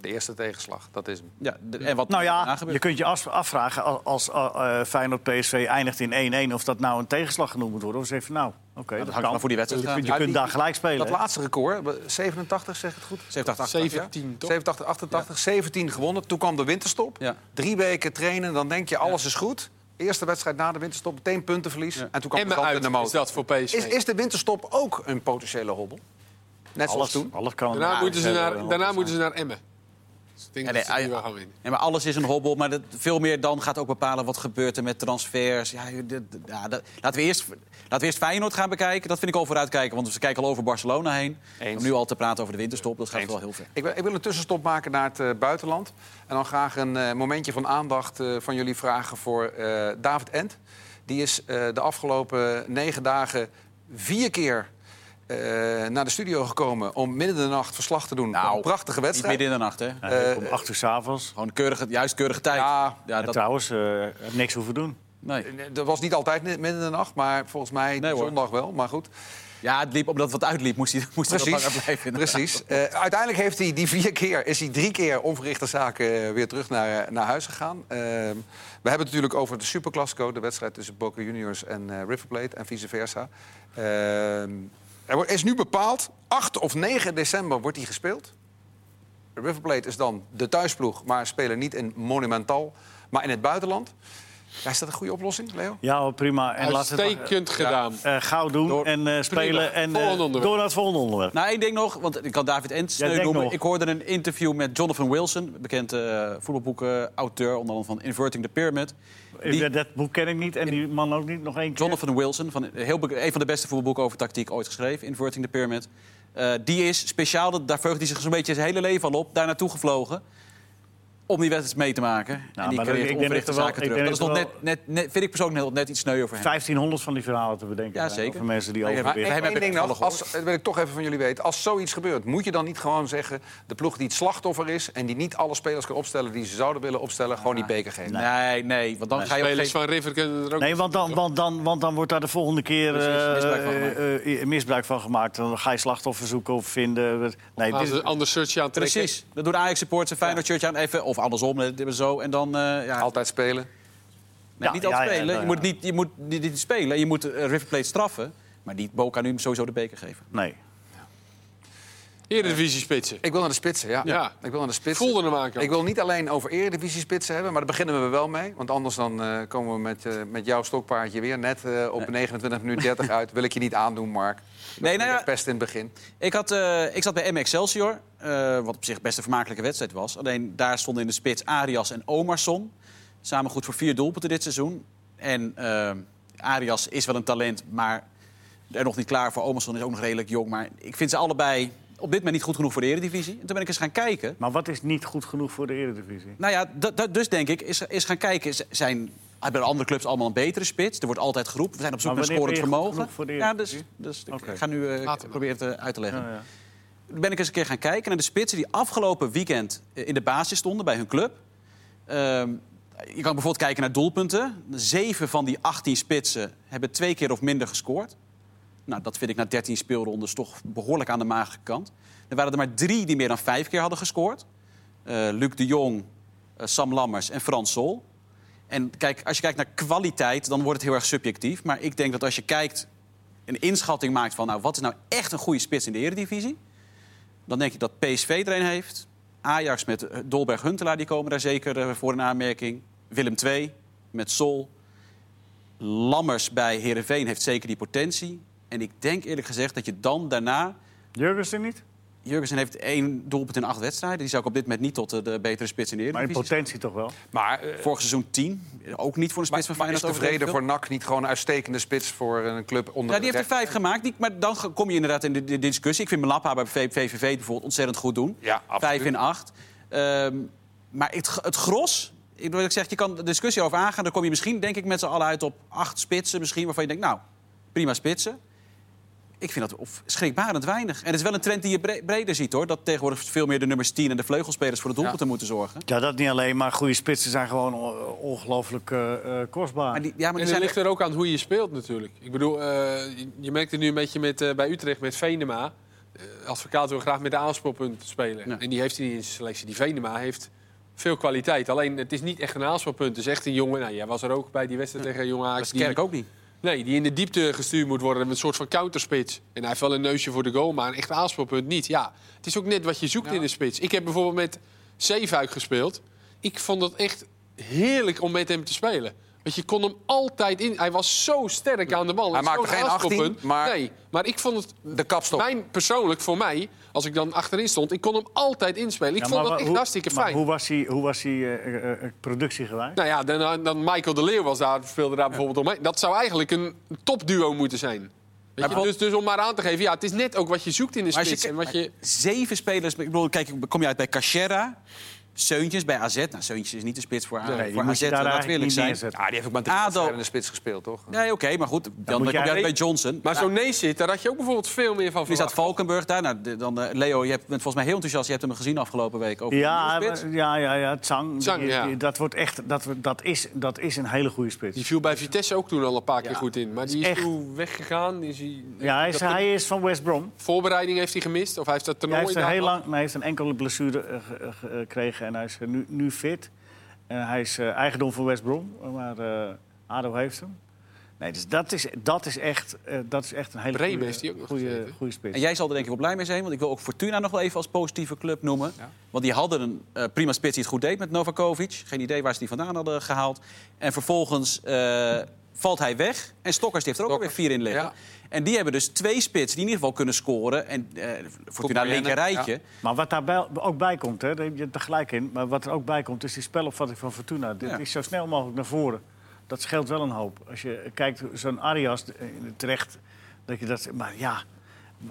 S1: De eerste tegenslag, dat is hem.
S4: Ja, de- en wat
S2: Nou
S4: daarna
S2: ja,
S4: gebeurt.
S2: je kunt je af- afvragen al- als eh, eh, Feyenoord PSV eindigt in 1-1... of dat nou een tegenslag genoemd moet worden. Of zeg je van nou, oké,
S4: dat
S2: dat
S4: hangt
S2: kan.
S4: maar voor die wedstrijd
S2: Je, kunt- je
S1: aan.
S2: kunt daar gelijk spelen.
S1: Dat
S2: hè?
S1: laatste record, 87 zeg ik het goed?
S4: 87, 88.
S3: 17, toch?
S1: 87, 88, 17 gewonnen. Toen kwam de winterstop.
S4: Ja.
S1: Drie weken trainen, dan denk je alles is goed. Eerste wedstrijd na de winterstop, meteen puntenverlies. En toen kwam de
S3: Emmen
S1: kant in de
S3: uit is
S1: motor.
S3: dat voor PSV.
S1: Is, is de winterstop ook een potentiële hobbel? Net zoals
S2: alles,
S1: toen.
S2: alles kan.
S3: Daarna,
S4: Ja,
S3: moeten, ze
S4: ze hebben
S3: naar,
S4: wel
S3: daarna
S4: wat
S3: moeten ze naar Emmen. Dus ik denk
S4: Ja,
S3: dat
S4: nee,
S3: ze die
S4: ah,
S3: wel
S4: ja.
S3: gaan winnen.
S4: Ja, maar alles is een hobbel, maar dat, veel meer dan gaat ook bepalen wat gebeurt er met transfers. Ja, joh, dit- dit- ja, dat- laten, we eerst, laten we eerst Feyenoord gaan bekijken. Dat vind ik al vooruitkijken, want we kijken al over Barcelona heen.
S1: Eens.
S4: Om nu al te praten over de winterstop, dat gaat wel heel ver.
S1: Ik, wil- ik wil een tussenstop maken naar het eh, buitenland. En dan graag een eh, momentje van aandacht eh, van jullie vragen voor eh, David Ent. Die is eh, de afgelopen negen dagen vier keer eh, naar de studio gekomen... om midden in de nacht verslag te doen van een prachtige
S4: Nou, Niet
S1: wedstrijd.
S4: midden in de nacht, hè?
S2: om Nou, acht uur s'avonds.
S4: Gewoon keurige, juist keurige tijd.
S1: Ja,
S4: ja
S2: En
S4: Eh, dat,
S2: trouwens, eh, niks hoeven doen.
S4: nee.
S1: Eh, Dat was niet altijd midden in de nacht, maar volgens mij
S4: Nee, hoor.
S1: zondag wel. Maar goed,
S4: ja, het liep, omdat het wat uitliep, moest hij, moest hij wat langer
S1: precies.
S4: blijven. inderdaad.
S1: precies. Eh, uiteindelijk heeft hij die vier keer, is hij drie keer onverrichte zaken eh, weer terug naar, eh, naar huis gegaan. Ehm, we hebben het natuurlijk over de Superclásico, de wedstrijd tussen Boca Juniors en eh, River Plate en vice versa. Ehm, er wordt- is nu bepaald, 8 of 9 december wordt die gespeeld. River Plate is dan de thuisploeg, maar spelen niet in Monumental, maar in het buitenland. Ja, is dat een goede oplossing, Leo?
S2: Ja, hoor, prima. En laat het eh,
S3: Uitstekend gedaan.
S2: eh, gauw doen
S3: Door-
S2: en eh, spelen. En eh,
S3: Volgende onderwerp.
S2: door naar het volgende onderwerp.
S4: Nou, één ding nog, want ik kan David Ent sneu
S2: denk
S4: noemen.
S2: nog.
S4: Ik hoorde een interview met Jonathan Wilson, bekend eh voetbalboeken-auteur, onder andere van Inverting the Pyramid. Nou, Die-
S2: Ik- Dat boek ken ik niet en die man ook niet. Nog één keer.
S4: Jonathan Wilson, van, heel, bek- een van de beste voetbalboeken over tactiek ooit geschreven, Inverting the Pyramid. Eh, die is speciaal, dat- daar verheugt hij zich zo'n beetje zijn hele leven al op, daar naartoe gevlogen. om die wedstrijd mee te maken. en die
S2: Nou, maar
S4: creëert
S2: ik denk
S4: onverrichte
S2: dat er wel-
S4: zaken
S2: ik
S4: terug. Dat is
S2: denk
S4: nog
S2: dat er
S4: net, net, net, vind ik persoonlijk net, net iets sneu voor hem.
S2: 1500 van die verhalen te bedenken.
S4: Ja,
S2: zijn
S4: zeker.
S2: Over mensen die
S4: Maar ja,
S1: Maar
S4: Wij
S2: overwegen.
S1: één,
S4: hebben
S1: één ding
S4: het
S1: nog,
S4: gehoord.
S1: als, dat wil ik toch even van jullie weten. Als zoiets gebeurt, moet je dan niet gewoon zeggen... de ploeg die het slachtoffer is en die niet alle spelers kan opstellen... die ze zouden willen opstellen, gewoon die beker geven?
S4: Nee, nee, want dan ga je op een
S3: Spelers
S4: gegeven
S3: van River kunnen er ook...
S2: Nee, want dan, want, dan, want dan wordt daar de volgende keer eh,
S4: Precies, misbruik van gemaakt.
S2: eh, eh, misbruik van gemaakt. Dan ga je slachtoffers zoeken of vinden. Nee,
S3: Gaan
S2: dit
S3: ze
S2: is-
S3: een ander shirtje aantrekken.
S4: Precies. Dat doen Ajax supporters een Feyenoord shirtje aan even. Of andersom, eh, dit- zo. En dan eh, ja,
S1: Altijd spelen.
S4: nee,
S2: Ja,
S4: niet
S2: ja,
S4: altijd
S2: ja,
S4: spelen.
S2: ja, ja.
S4: Je moet niet, je moet niet, niet spelen. Je moet eh, River Plate straffen. Maar niet Boca nu sowieso de beker geven.
S2: nee.
S3: Eredivisie spitsen.
S1: Ik wil naar de spitsen, ja.
S3: Ja.
S1: Ik wil naar de spitsen.
S3: Voelde hem aankomen.
S1: Ik wil niet alleen over eredivisie-spitsen hebben, maar daar beginnen we wel mee. Want anders dan eh, komen we met, eh, met jouw stokpaardje weer net eh, op 29 minuten 30 uit. Wil ik je niet aandoen, Mark.
S4: Nee, nou ja,
S1: Pest in het begin.
S4: Ik, had, eh, ik zat bij M Excelsior, eh, wat op zich best een vermakelijke wedstrijd was. Alleen daar stonden in de spits Arias en Omarsson. Samen goed voor vier doelpunten dit seizoen. En eh, Arias is wel een talent, maar er nog niet klaar voor. Omarsson is ook nog redelijk jong. Maar ik vind ze allebei op dit moment niet goed genoeg voor de Eredivisie. En toen ben ik eens gaan kijken.
S2: Maar wat is niet goed genoeg voor de Eredivisie?
S4: Nou ja, dat- dat- dus denk ik, is, is gaan kijken. Z- Zijn bij de andere clubs allemaal een betere spits? Er wordt altijd geroepen. We zijn op zoek
S2: Maar
S4: naar
S2: wanneer
S4: scorend
S2: ben je goed
S4: vermogen.
S2: genoeg voor de
S4: ja, dus,
S2: Eredivisie?
S4: dus
S2: Oké.
S4: ik ga nu eh,
S3: Laten we.
S4: proberen het eh, uit te leggen.
S2: Nou ja.
S4: Toen ben ik eens een keer gaan kijken naar de spitsen die afgelopen weekend eh, in de basis stonden bij hun club. Ehm, je kan bijvoorbeeld kijken naar doelpunten. Zeven van die 18 spitsen hebben twee keer of minder gescoord. Nou, dat vind ik na 13 speelrondes toch behoorlijk aan de magere kant. Er waren er maar drie die meer dan vijf keer hadden gescoord. Eh, Luc de Jong, eh, Sam Lammers en Frans Sol. En kijk, als je kijkt naar kwaliteit, dan wordt het heel erg subjectief. Maar ik denk dat als je kijkt, een inschatting maakt van... nou, wat is nou echt een goede spits in de eredivisie? Dan denk ik dat PSV er een heeft. Ajax met eh, Dolberg Huntelaar, die komen daar zeker eh, voor in aanmerking. Willem II met Sol. Lammers bij Herenveen heeft zeker die potentie. En ik denk eerlijk gezegd dat je dan daarna...
S2: Jurgensen niet?
S4: Jurgensen heeft één doelpunt in acht wedstrijden. Die zou ik op dit moment niet tot eh, de betere spits in de
S2: Maar in
S4: Eredivisie.
S2: potentie toch wel?
S1: Maar, eh,
S4: Vorig seizoen 10. Ook niet voor een
S1: maar,
S4: spits van
S1: maar is
S4: Feyenoord.
S1: tevreden
S4: overigens.
S1: voor NAC niet gewoon een uitstekende spits voor een club onder
S4: Ja, die
S1: de
S4: heeft er vijf gemaakt. Die, maar dan ge- kom je inderdaad in de, de discussie. Ik vind Malappa bij V- VVV bijvoorbeeld ontzettend goed doen.
S1: Ja, absoluut.
S4: Vijf in acht. Ehm, maar het, g- het gros... Ik wil zeggen, je kan de discussie over aangaan. Dan kom je misschien, denk ik, met z'n allen uit op acht spitsen. Misschien waarvan je denkt, nou, prima spitsen. Ik vind dat of, schrikbarend weinig. En het is wel een trend die je bre- breder ziet, hoor. Dat tegenwoordig veel meer de nummers 10 en de vleugelspelers voor de doelpunten moeten zorgen.
S2: Ja, dat niet alleen, maar goede spitsen zijn gewoon o- ongelooflijk eh, eh, kostbaar.
S4: Maar die, ja, maar
S3: En
S4: die
S3: het
S4: zijn
S3: ligt
S4: echt
S3: er ook aan hoe je speelt natuurlijk. Ik bedoel, eh, je- je merkt het nu een beetje met, eh, bij Utrecht met Venema. Eh, advocaat wil graag met de aanspoorpunt spelen.
S4: Ja.
S3: En die heeft hij niet in zijn selectie. Die Venema heeft veel kwaliteit. Alleen het is niet echt een aanspoorpunt. Het is echt een jongen. Nou, jij was er ook bij die wedstrijd tegen Jong Ajax. die-
S4: kerk ook niet.
S3: Nee, die in de diepte gestuurd moet worden met een soort van counterspits. En hij heeft wel een neusje voor de goal, maar een echt aanspeelpunt niet. Ja, het is ook net wat je zoekt in de spits. Ik heb bijvoorbeeld met Zeefuik gespeeld. Ik vond het echt heerlijk om met hem te spelen. Want je kon hem altijd in. Hij was zo sterk aan de bal.
S1: Hij
S3: Het is
S1: maakte
S3: gewoon een
S1: geen 18,
S3: aanspeelpunt.
S1: maar-
S3: Nee, maar ik vond het...
S1: De kapstok.
S3: Mijn persoonlijk, voor mij, als ik dan achterin stond... ik kon hem altijd inspelen. Ik
S2: Ja,
S3: vond
S2: maar
S3: dat
S2: wa-
S3: echt
S2: hoe-
S3: hartstikke
S2: maar
S3: fijn.
S2: hoe was hij, hoe was hij eh, eh, eh, productiegewijs?
S3: Nou ja, dan, dan Michael de Leeuw was daar, speelde daar bijvoorbeeld omheen. Dat zou eigenlijk een topduo moeten zijn. Weet je,
S4: bijvoorbeeld-
S3: dus, dus om maar aan te geven, ja, het is net ook wat je zoekt in de
S4: Maar als je
S3: spits. en wat
S4: kijkt-
S3: je,
S4: Zeven spelers. Ik bedoel, kijk, kom je uit bij Cachera, Seuntjes bij AZ. Nou, Seuntjes is niet de spits voor, A-
S2: Nee, die
S4: voor
S2: moet
S4: AZ.
S2: je daar
S4: Laten we
S2: eigenlijk
S4: eerlijk
S2: niet
S4: zijn.
S2: neerzetten.
S1: Ja, die heeft ook maar drie
S4: Ado.
S1: wedstrijden in de spits gespeeld, toch?
S4: Nee, oké, maar goed. Dan,
S2: moet
S4: kom
S2: je
S4: je uit bij
S2: eigenlijk-
S4: Johnson.
S3: maar
S4: Maar
S3: zo'n Neesit, daar had je ook bijvoorbeeld veel meer van
S4: nu
S3: verwacht.
S4: staat Valkenburg daar. Nou, de- dan, eh, Leo, je hebt, bent volgens mij heel enthousiast. Je hebt hem gezien afgelopen week. Over
S2: Ja,
S4: de nieuwe spits.
S2: maar- ja, ja, ja, Tsang.
S3: Tsang,
S2: die-
S3: ja.
S2: die- Dat, wordt echt, dat, wordt- dat, is, dat is een hele goede spits.
S3: Die viel bij Vitesse ook toen al een paar keer goed in. Maar die is
S2: echt-
S3: toen weggegaan. Is hij,
S2: Ja, hij is,
S3: dat-
S2: hij is van West Brom.
S3: Voorbereiding heeft hij gemist, of hij heeft dat
S2: Hij
S3: toernooi...
S2: heeft, een
S3: daar
S2: heel
S3: gehad.
S2: lang, maar hij heeft een enkele blessure eh, ge- eh, ge- eh, gekregen en hij is eh, nu, nu fit. En hij is eh, eigendom van West Brom, maar eh, ADO heeft hem. Nee, dus dat is, dat is, echt, eh, dat is echt een hele
S3: Bremen
S2: goede,
S3: heeft hij ook nog
S2: goede,
S3: gezeten.
S2: goede spits.
S4: En jij zal er denk ik wel blij mee zijn. Want ik wil ook Fortuna nog wel even als positieve club noemen. Want die hadden een eh, prima spits die het goed deed met Novakovic. Geen idee waar ze die vandaan hadden gehaald. En vervolgens eh, valt hij weg. En Stokkers die heeft
S1: Stokkers.
S4: er ook alweer vier in liggen.
S1: Ja.
S4: En die hebben dus twee spits die in ieder geval kunnen scoren. En eh, Fortuna
S1: Koppeljennen,
S4: linker rijtje.
S1: ja.
S2: Maar wat daar bij- ook bij komt, hè, daar heb je het tegelijk in. Maar wat er ook bij komt, is die spelopvatting van Fortuna. Dit
S4: Ja.
S2: is zo snel mogelijk naar voren. Dat scheelt wel een hoop. Als je kijkt, zo'n Arias eh, terecht, dat je dat... Maar ja,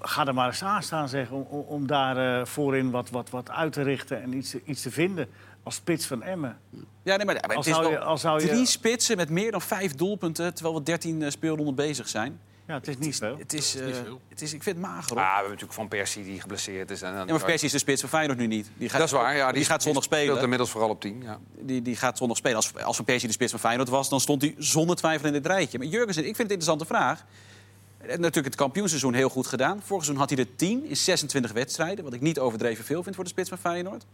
S2: ga er maar eens aan staan, zeg. Om, om, om daar eh, voorin wat, wat, wat uit te richten en iets, te- iets te vinden. Als spits van Emmen.
S4: Ja, nee, maar maar
S2: Als
S4: het is
S2: zou je-
S4: wel
S2: als zou je-
S4: drie spitsen met meer dan vijf doelpunten... terwijl we dertien eh, speelronden bezig zijn.
S2: Ja, het is niet veel.
S4: Het is,
S3: niet
S4: eh,
S3: veel.
S4: het is, ik vind het mager.
S1: Ah, we
S4: hoor.
S1: hebben natuurlijk Van Persie die geblesseerd is. En, dan-
S4: Ja, maar Persie is de spits van Feyenoord nu niet. Die gaat,
S1: Dat is waar, ja.
S4: die, gaat zondag
S1: speelt
S4: spelen.
S1: inmiddels vooral op 10. Ja.
S4: Die, die gaat zondag spelen. Als, als Van Persie de spits van Feyenoord was, dan stond hij zonder twijfel in dit rijtje. Maar Jurgensen, ik vind het een interessante vraag. Hij heeft natuurlijk het kampioenseizoen heel goed gedaan. Vorig seizoen had hij er 10 in 26 wedstrijden. Wat ik niet overdreven veel vind voor de spits van Feyenoord.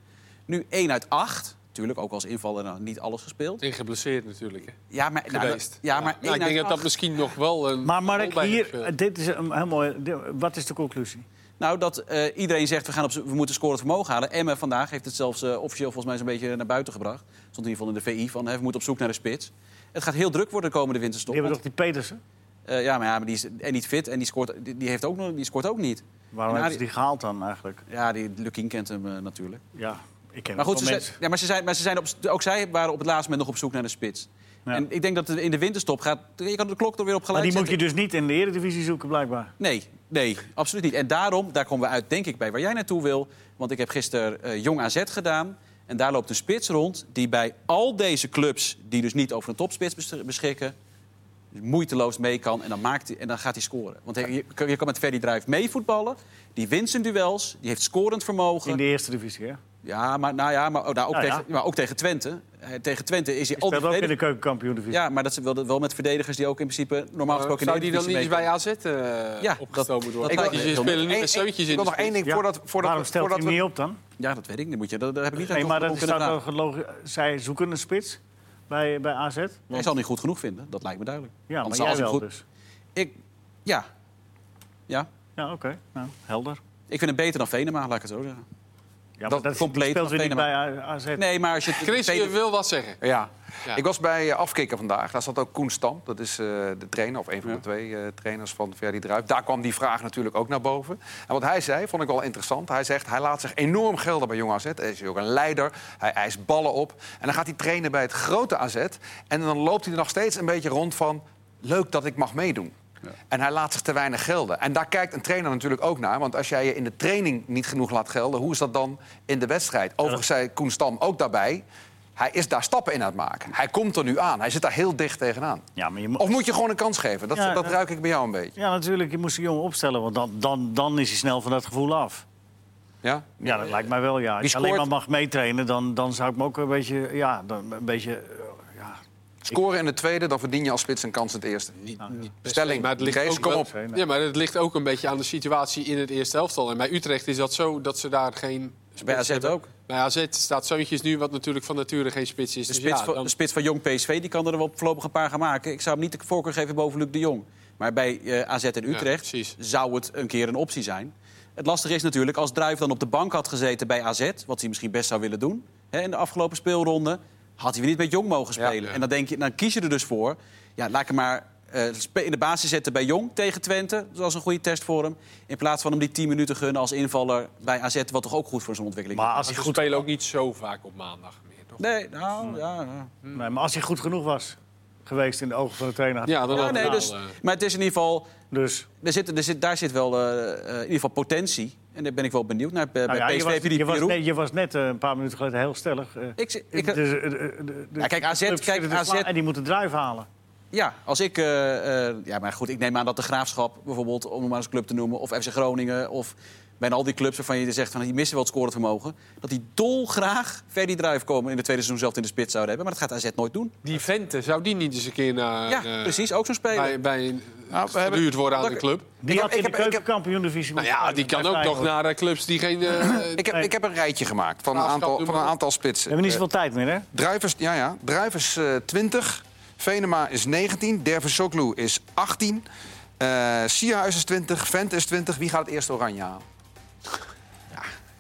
S4: Nu 1 uit 8. Tuurlijk, ook als invaller nou, niet alles gespeeld.
S3: En geblesseerd natuurlijk. Hè.
S4: Ja, maar, nou,
S3: Geweest.
S4: ja, maar
S3: Nou,
S4: één
S3: ik denk
S4: uit
S3: dat dat
S4: acht.
S3: misschien nog wel een.
S2: Maar
S3: rol
S2: Mark,
S3: bij hem
S4: dus,
S2: hier,
S3: speelt.
S2: eh, dit is een heel mooi. dit- Wat is de conclusie?
S4: Nou, dat eh, iedereen zegt we, gaan op, z'n- we moeten scorend vermogen halen. Emma vandaag heeft het zelfs eh, officieel volgens mij zo'n beetje naar buiten gebracht. Stond in ieder geval in de VI van hè, we moeten op zoek naar de spits. Het gaat heel druk worden de komende
S2: Die
S4: winterstop.
S2: hebben
S4: want,
S2: toch die Petersen?
S4: eh, ja, maar, ja, maar die is en niet fit en die scoort, die, die heeft ook, nog- die scoort ook niet.
S2: Waarom
S4: En
S2: hebben ze die gehaald dan eigenlijk?
S4: Arie- Ja, die Lukien kent hem eh, natuurlijk.
S2: Ja, ik ken
S4: Maar goed,
S2: wel
S4: ze zijn,
S2: mensen.
S4: ja, maar ze zijn, maar ze zijn op, ook zij waren op het laatste moment nog op zoek naar de spits.
S2: Ja.
S4: En ik denk dat het in de winterstop gaat. Je kan de klok er weer op
S2: Maar
S4: gelijk
S2: die moet
S4: zetten.
S2: je dus niet in de Eredivisie zoeken, blijkbaar.
S4: Nee, nee, absoluut niet. En daarom, daar komen we uit, denk ik, bij waar jij naartoe wil. Want ik heb gisteren eh, Jong AZ gedaan. En daar loopt een spits rond die bij al deze clubs... die dus niet over een topspits bes- beschikken... dus moeiteloos mee kan en dan, maakt hij, en dan gaat hij scoren. Want hij- je, kan- je kan met Ferry Drijf meevoetballen. Die wint zijn duels, die heeft scorend vermogen.
S2: In de Eerste Divisie, hè?
S4: Ja, maar, nou ja, maar, oh, nou, ook,
S2: Nou ja.
S4: tegen, maar ook tegen Twente. Eh, tegen Twente is hij
S2: Dat
S4: altijd...
S2: ook in de keukenkampioen-divisie.
S4: Ja maar dat is wel, wel met verdedigers die ook in principe normaal
S3: Maar
S4: gesproken...
S3: Eh, Zou
S4: in de
S3: die dan niet eens
S4: Eredivisie
S3: bij AZ eh
S4: dat-
S3: opgestoomd worden?
S4: dat lijkt
S3: Die
S4: me heel
S3: spelen nu
S1: Eén-
S3: met
S1: één-
S3: zeuntjes
S1: Ik
S3: in.
S1: wil
S3: de
S1: nog één
S3: spits.
S1: ding
S2: Ja.
S1: voordat, voordat,
S2: Waarom
S1: we-
S2: stelt
S1: voordat
S2: hij hem
S1: we-
S2: niet op dan?
S4: mee- Ja, dat weet ik niet. Moet je, dat, dat heb ik niet aan
S2: Nee,
S4: Tom
S2: maar
S4: Tom
S2: dat
S4: kunnen
S2: staat
S4: vragen.
S2: wel gelogen. Zij zoeken een spits bij, bij AZ. Ja,
S4: Hij zal niet goed genoeg vinden, dat lijkt me duidelijk.
S2: maar
S4: Want
S2: jij
S4: als hij
S2: wel
S4: goed-
S2: dus.
S4: Ik, ja. ja.
S2: Ja, oké. Nou, helder.
S4: Ik vind hem beter dan Venema, laat ik het zo zeggen.
S2: Ja,
S4: Dat
S2: maar dat
S4: compleet
S2: speelt weer niet
S4: Venema.
S2: bij A- AZ.
S4: Nee, maar als je...
S3: Chris, je
S4: Venema-
S3: wil wat zeggen.
S1: Ja.
S3: Ja.
S1: ik was bij eh, Afkikken vandaag. Daar zat ook Koen Stam, dat is eh, de trainer, of een van de twee eh, trainers van Verdi Druif. Daar kwam die vraag natuurlijk ook naar boven. En wat hij zei, vond ik wel interessant. Hij zegt, hij laat zich enorm gelden bij Jong AZ. Hij is ook een leider, hij eist ballen op. En dan gaat hij trainen bij het grote AZ. En dan loopt hij er nog steeds een beetje rond van... leuk dat ik mag meedoen. En hij laat zich te weinig gelden. En daar kijkt een trainer natuurlijk ook naar. Want als jij je in de training niet genoeg laat gelden... hoe is dat dan in de wedstrijd? Overigens zei Koen Stam ook daarbij... Hij is daar stappen in aan het maken. Hij komt er nu aan. Hij zit daar heel dicht tegenaan.
S2: Ja, maar je moet...
S1: Of moet je gewoon een kans geven? Dat,
S2: Ja,
S1: dat
S2: dat-
S1: ruik ik bij jou een beetje.
S2: Ja, natuurlijk. Je moest die jongen opstellen, want dan, dan, dan is hij snel van dat gevoel af.
S1: Ja?
S2: Ja, dat lijkt mij wel, ja. Als je
S1: scoort-
S2: alleen maar mag meetrainen, dan, dan zou ik me ook een beetje... Ja, dan, een beetje... eh, Ja,
S1: Scoren in de tweede, dan verdien je als spits een kans in het eerste.
S3: Niet, niet per
S1: Stelling,
S3: se, maar het ligt
S1: Kees,
S3: ook
S1: kom
S3: wel-
S1: op.
S3: Ja, maar het ligt ook een beetje aan de situatie in het eerste elftal. En bij Utrecht is dat zo dat ze daar geen.
S4: Bij AZ
S3: hebben.
S4: ook.
S3: Bij AZ staat Zeuntjes nu, wat natuurlijk van nature geen spits is.
S4: De
S3: Dus
S4: spits,
S3: ja,
S4: van,
S3: dan-
S4: de spits van Jong PSV die kan er wel voorlopig een paar gaan maken. Ik zou hem niet de voorkeur geven boven Luc de Jong. Maar bij eh, AZ en Utrecht
S3: precies.
S4: zou het een keer een optie zijn. Het lastige is natuurlijk, als Druif dan op de bank had gezeten bij AZ... wat hij misschien best zou willen doen hè, in de afgelopen speelronde... had hij weer niet met Jong mogen
S1: Ja.
S4: spelen. En dan, denk je, dan kies je er dus voor, ja, laat ik hem maar eh, spe- in de basis zetten bij Jong tegen Twente. Dat was een goede test voor hem. In plaats van hem die 10 minuten gunnen als invaller bij AZ... wat toch ook goed voor zijn ontwikkeling
S2: maar als
S3: ze
S2: hij goed...
S3: spelen ook niet zo vaak op maandag meer, toch?
S4: is. Nee, nou, ja, ja.
S2: Nee, maar als hij goed genoeg was geweest in de ogen van de trainer.
S3: Ja, dan
S4: Ja,
S3: had
S4: nee,
S3: het
S4: dus,
S3: wel, eh,
S4: maar het is in ieder geval...
S2: Dus
S4: Er zit, er zit, daar zit wel eh, eh, in ieder geval potentie. En daar ben ik wel benieuwd naar. Bij,
S2: nou
S4: bij
S2: ja, je,
S4: PSV
S2: was,
S4: heb je die
S2: je, was
S4: Giroud.
S2: net, je was net eh, een paar minuten geleden heel stellig. eh,
S4: Ik, zi- ik,
S2: dus, eh, de- de- de-
S4: Ja, kijk,
S2: de
S4: AZ
S2: clubs
S4: kijk,
S2: kunnen de
S4: AZ
S2: sla- En die moeten druif halen.
S4: ja, als ik... eh, eh, ja, maar goed, ik neem aan dat de Graafschap bijvoorbeeld... om hem maar eens een club te noemen, of FC Groningen... of bijna al die clubs waarvan je zegt... Van, die missen wel het scorend vermogen... dat die dolgraag Ferdi Druif komen... in de tweede seizoen zelf in de spits zouden hebben. Maar dat gaat AZ nooit doen.
S3: Die venten, zou die niet eens een keer naar.
S4: ja,
S3: eh,
S4: precies. Ook zo'n speler.
S3: Bij, bij een,
S1: Nou, we hebben-
S3: geduurd worden aan
S1: dat-
S3: de club.
S1: Ik
S2: Die
S1: heb-
S2: had
S1: ik
S2: in de
S1: heb- ik heb-
S2: keukenkampioen-divisie
S3: Nou
S2: moeten
S3: ja, die
S2: spelen
S3: kan
S2: bij
S3: ook nog
S2: Feyenoord.
S3: naar eh, clubs die geen. eh,
S1: Ik heb,
S2: Nee.
S1: ik heb een rijtje gemaakt van een
S3: Graafschap,
S1: aantal,
S3: doe
S1: van
S3: maar
S1: een
S3: op.
S1: aantal
S2: We
S1: spitsen.
S2: hebben niet zoveel tijd meer, hè?
S1: Druivers, ja, ja. Druivers eh 20. Venema is 19. Dervisoglu is 18. Eh Sierhuis is 20. Vent is 20. Wie gaat het eerst oranje halen?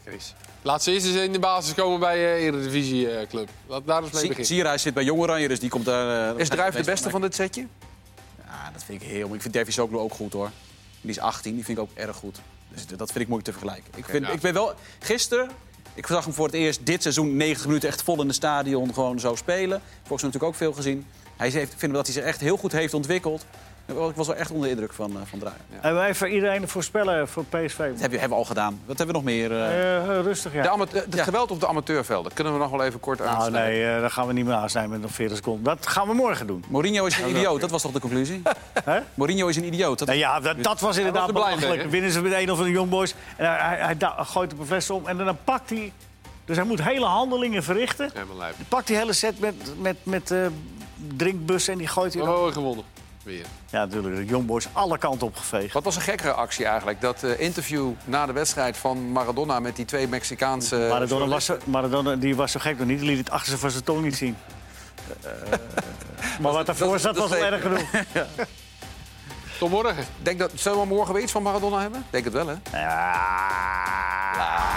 S3: Chris. eh, Laat ze eerst eens in de basis komen bij eh Eredivisie eh, club. Laat daar eens mee
S4: Si-
S3: beginnen.
S4: Sierhuis zit bij Jong Oranje, dus die komt daar... eh,
S1: Is Druif de beste van dit setje?
S4: Ja, dat vind ik heel moeilijk. Ik vind Davies ook ook goed hoor. Die is 18, die vind ik ook erg goed. Dus d- dat vind ik moeilijk te vergelijken. Ik, vind,
S3: ja.
S4: ik ben wel gisteren. Ik zag hem voor het eerst dit seizoen 90 minuten echt vol in de stadion gewoon zo spelen. Volgens mij natuurlijk ook veel gezien. Hij heeft, ik vind dat hij zich echt heel goed heeft ontwikkeld. Ik was wel echt onder de indruk van, eh, van Draaier. Ja.
S2: En wij voor iedereen voorspellen voor PSV.
S4: Dat heb je- hebben we al gedaan. Wat hebben we nog meer? eh?
S2: Eh, eh, rustig, ja.
S1: De ama- eh, het
S4: Ja.
S1: geweld op de amateurvelden, kunnen we nog wel even kort
S2: Nou,
S1: aansnijden.
S2: nee, eh, daar gaan we niet meer aan zijn met nog 40 seconden. Dat gaan we morgen doen.
S4: Mourinho is een idioot, dat was toch de conclusie?
S2: Hè?
S4: Mourinho is een idioot. Dat...
S2: Nou ja, dat, dat was inderdaad
S3: was de blinder,
S2: belachelijk.
S3: hè?
S2: Winnen ze met een of de jongboys. En hij, hij, hij da- gooit op een fles om en dan pakt hij... Dus hij moet hele handelingen verrichten.
S3: Helemaal lijp.
S2: Hij pakt die hele set met, met, met eh, drinkbus en die gooit hij... dan-
S3: Oh, gewonnen. Weer.
S2: Ja, natuurlijk. De jongboys alle kanten opgeveegd.
S1: Wat was een gekkere actie eigenlijk? Dat eh, interview na de wedstrijd van Maradona met die twee Mexicaanse...
S2: Maradona, was zo, Maradona die was zo gek nog niet. Die liet het achter zijn van zijn tong niet zien. Eh, maar wat daarvoor
S1: dat-
S2: zat
S1: dat
S2: was al
S1: weet
S2: erg genoeg.
S3: Tot morgen.
S1: Denk dat, zullen we morgen weer iets van Maradona hebben? Denk het wel, hè?
S2: Ja.